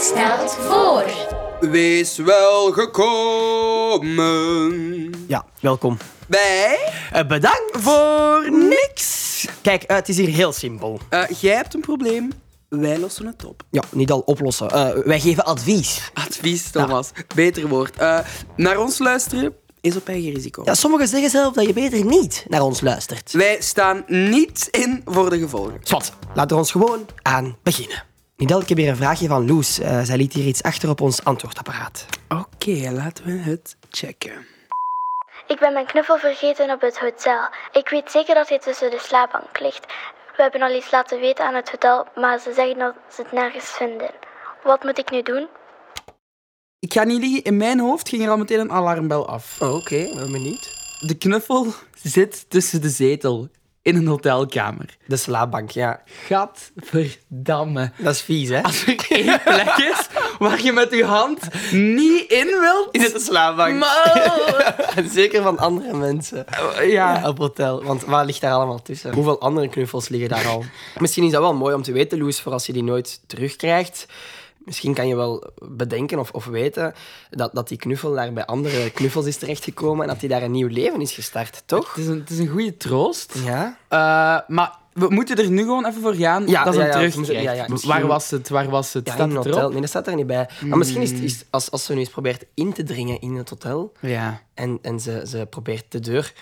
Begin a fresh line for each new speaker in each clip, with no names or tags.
stelt voor.
Wees wel gekomen.
Ja, welkom.
Wij?
Eh, bedankt voor niks. Kijk, eh, het is hier heel simpel.
Eh, jij hebt een probleem. Wij lossen het op.
Ja, niet al oplossen. Eh, wij geven advies.
Advies, Thomas. Beter woord. Eh, naar ons luisteren is op eigen risico.
Ja, sommigen zeggen zelf dat je beter niet naar ons luistert.
Wij staan niet in voor de gevolgen.
Zwat, laten we ons gewoon aan beginnen. Niet elke keer weer een vraagje van Loes. Eh, zij liet hier iets achter op ons antwoordapparaat.
Oké, laten we het checken.
Ik ben mijn knuffel vergeten op het hotel. Ik weet zeker dat hij tussen de slaapbank ligt. We hebben al iets laten weten aan het hotel, maar ze zeggen dat ze het nergens vinden. Wat moet ik nu doen?
Ik ga niet liegen, in mijn hoofd ging er al meteen een alarmbel af.
Oké, ben benieuwd.
De knuffel zit tussen de zetel in een hotelkamer.
De slaapbank, ja.
Gadverdamme.
Dat is vies, hè?
Als er één plek is waar je met je hand niet in wilt...
Is het de slaapbank?
Maar...
Zeker van andere mensen.
Ja.
Ja, op hotel. Want waar ligt daar allemaal tussen? Hoeveel andere knuffels liggen daar al? Misschien is dat wel mooi om te weten, Loes, voor als je die nooit terugkrijgt. Misschien kan je wel bedenken of, of weten dat, dat die knuffel daar bij andere knuffels is terechtgekomen en dat die daar een nieuw leven is gestart, toch?
Het is een, het is een goede troost.
Ja?
Eh, maar we moeten er nu gewoon even voor gaan.
Ja,
dat is
ja,
een
ja,
terugkrijg.
ja, ja, misschien-
Waar was het? Waar was het?
Ja,
Staat
in een
het
hotel.
erop?
Nee, dat staat er niet bij. Maar misschien is, het- is het- als, als ze nu eens probeert in te dringen in het hotel
Ja.
en, en ze, ze probeert de deur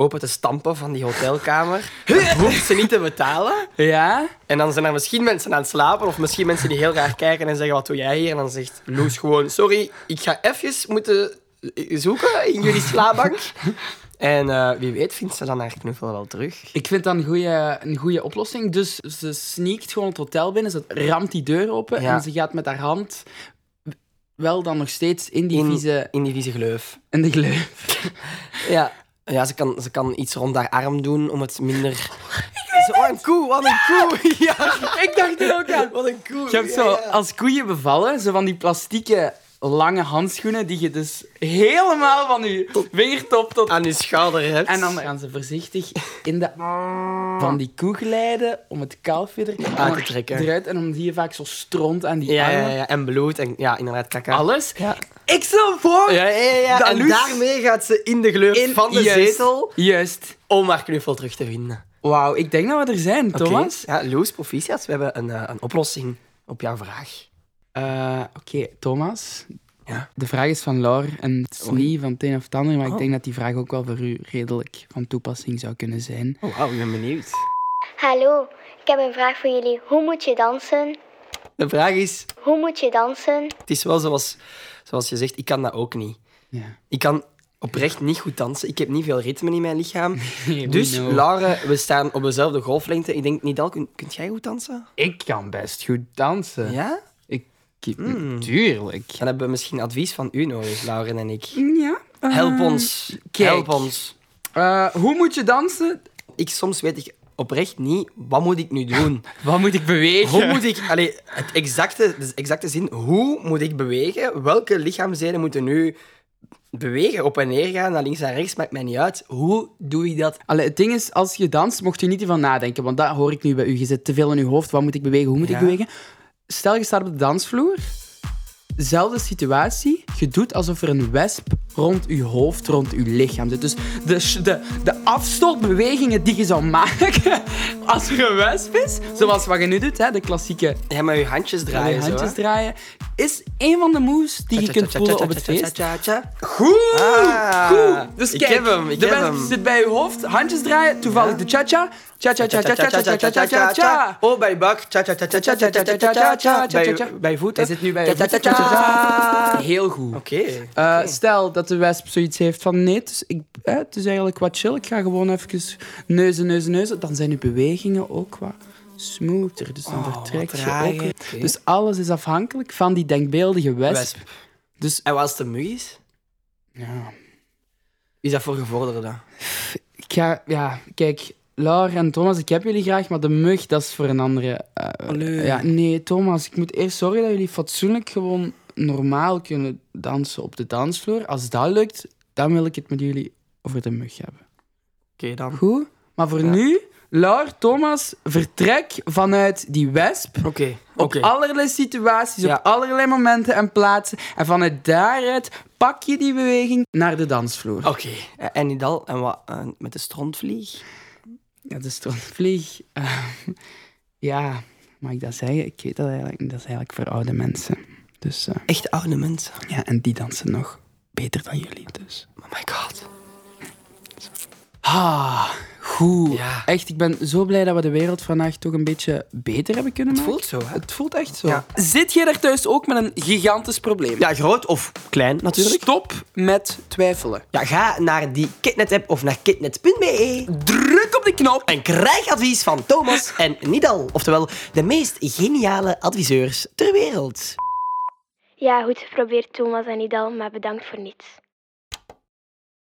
open te stampen van die hotelkamer, dan hoeft ze niet te betalen.
Ja?
En dan zijn er misschien mensen aan het slapen, of misschien mensen die heel raar kijken en zeggen: Wat doe jij hier? En dan zegt Loes gewoon: Sorry, ik ga even moeten zoeken in jullie slaapbank. En eh, wie weet, vindt ze dan haar knuffel wel terug?
Ik vind dat een goede, een goede oplossing. Dus ze sneakt gewoon het hotel binnen, ze ramt die deur open
Ja.
en ze gaat met haar hand wel dan nog steeds in die vieze...
in die vieze gleuf.
in de gleuf.
Ja, ja ze, kan, ze kan iets rond haar arm doen om het minder. Zo, wat een koe, wat een koe! Ja,
Ik dacht er ook aan.
wat een koe!
Je hebt zo,
Ja, ja.
als koeien bevallen, zo van die plastieke lange handschoenen die je dus helemaal van je vingertop tot...
Aan je schouder hebt.
En dan gaan ze voorzichtig in de van die koe glijden om het kalfje er
Aan te trekken.
Eruit, en dan zie je vaak zo stront aan die
Ja,
armen.
ja, ja, en bloed en ja, inderdaad, kaka.
Alles.
Ja.
Ik stel voor...
Ja, ja, ja.
Dat
en
Loes-
daarmee gaat ze in de gleuf
in-
van de
juist,
zetel
Juist.
om haar knuffel terug te vinden.
Wauw, ik denk dat we er zijn,
Oké.
Thomas.
Ja, Loes, proficiat. We hebben een, eh, een oplossing op jouw vraag.
Eh, Oké, Thomas.
Ja?
De vraag is van Laur en het is niet van het een of het ander, maar
Oh.
ik denk dat die vraag ook wel voor u redelijk van toepassing zou kunnen zijn.
Oh, wauw, ik ben benieuwd.
Hallo, ik heb een vraag voor jullie. Hoe moet je dansen?
De vraag is,
Hoe moet je dansen?
het is wel zoals, zoals je zegt, ik kan dat ook niet.
Ja.
Ik kan oprecht niet goed dansen. Ik heb niet veel ritme in mijn lichaam.
we
dus,
know.
Laura, we staan op dezelfde golflengte. Ik denk, Nidal, kun, kunt jij goed dansen?
Ik kan best goed dansen.
Ja?
Ik, ik- Tuurlijk.
Dan hebben we misschien advies van u nodig, Laura en ik.
Ja. eh,
Help ons.
kijk.
Help ons.
eh, hoe moet je dansen?
Ik, soms weet ik oprecht niet, wat moet ik nu doen?
Wat moet ik bewegen?
Hoe moet ik, allee, het exacte, de exacte zin, hoe moet ik bewegen? Welke lichaamsdelen moeten nu bewegen, op en neer gaan, naar links en rechts, maakt mij niet uit. Hoe doe ik dat?
Allee, het ding is, als je danst, mocht je niet van nadenken. Want dat hoor ik nu bij u. Je zit te veel in je hoofd. Wat moet ik bewegen? Hoe moet ik
Ja.
bewegen? Stel, je staat op de dansvloer. Zelfde situatie. Je doet alsof er een wesp rond je hoofd, rond je lichaam zit. Dus de, sh- de, de afstootbewegingen die je zou maken als er een wesp is, zoals wat je nu doet, hè, de klassieke
Ja, maar je handjes draaien
je handjes
zo.
draaien, is een van de moves die je kunt voelen op het feest. Goed!
Ah,
goed! Dus
ik
kijk,
heb hem, ik
de
heb
mensen
hem.
zit bij je hoofd, handjes draaien, toevallig de cha-cha. Cha-cha-cha-cha-cha-cha-cha-cha-cha.
Oh, bij je buik. Cha-cha-cha-cha-cha-cha-cha. Bij je- Bij je voeten.
Hij zit nu bij je voeten.
Cha-cha-cha-cha.
Heel goed.
Oké.
Eh, Stel dat de wesp zoiets heeft van nee, het is, ik, eh, het is eigenlijk wat chill. Ik ga gewoon even neuzen, neuzen, neuzen. Dan zijn uw bewegingen ook wat smoother. Dus dan vertrekt je ook.
Oh, trager.
weer.
Oké.
Dus alles is afhankelijk van die denkbeeldige wesp.
Wesp.
Dus
En wat als het een mug is?
ja.
Is dat voor gevorderden?
Ik ga, ja, kijk, Laura en Thomas, ik heb jullie graag, maar de mug, dat is voor een andere. eh,
Allee.
ja, nee, Thomas, ik moet eerst zorgen dat jullie fatsoenlijk gewoon normaal kunnen dansen op de dansvloer. Als dat lukt, dan wil ik het met jullie over de mug hebben.
Oké, dan.
Goed? Maar voor nu, Laur Thomas, vertrek vanuit die wesp.
Oké,
Op
oké.
allerlei situaties,
Ja.
op allerlei momenten en plaatsen. En vanuit daaruit pak je die beweging naar de dansvloer.
Oké. Eh, En Nidal, en wat eh, met de strontvlieg?
Ja, de strontvlieg. eh, ja, mag ik dat zeggen? Ik weet dat eigenlijk niet. Dat is eigenlijk voor oude mensen. Dus eh,
Echt oude mensen.
ja, en die dansen nog beter dan jullie. Dus.
Oh my god.
Ah, goed.
Ja.
Echt, ik ben zo blij dat we de wereld vandaag toch een beetje beter hebben kunnen maken.
voelt zo, hè?
Het voelt echt zo.
Ja.
Zit jij daar thuis ook met een gigantisch probleem?
Ja, groot of klein natuurlijk.
Stop met twijfelen.
Ja, ga naar die KitNet-app of naar kitnet.be.
Druk op de knop.
En krijg advies van Thomas en Nidal. Oftewel, de meest geniale adviseurs ter wereld.
Ja, goed geprobeerd Thomas en Idal, maar bedankt voor niets.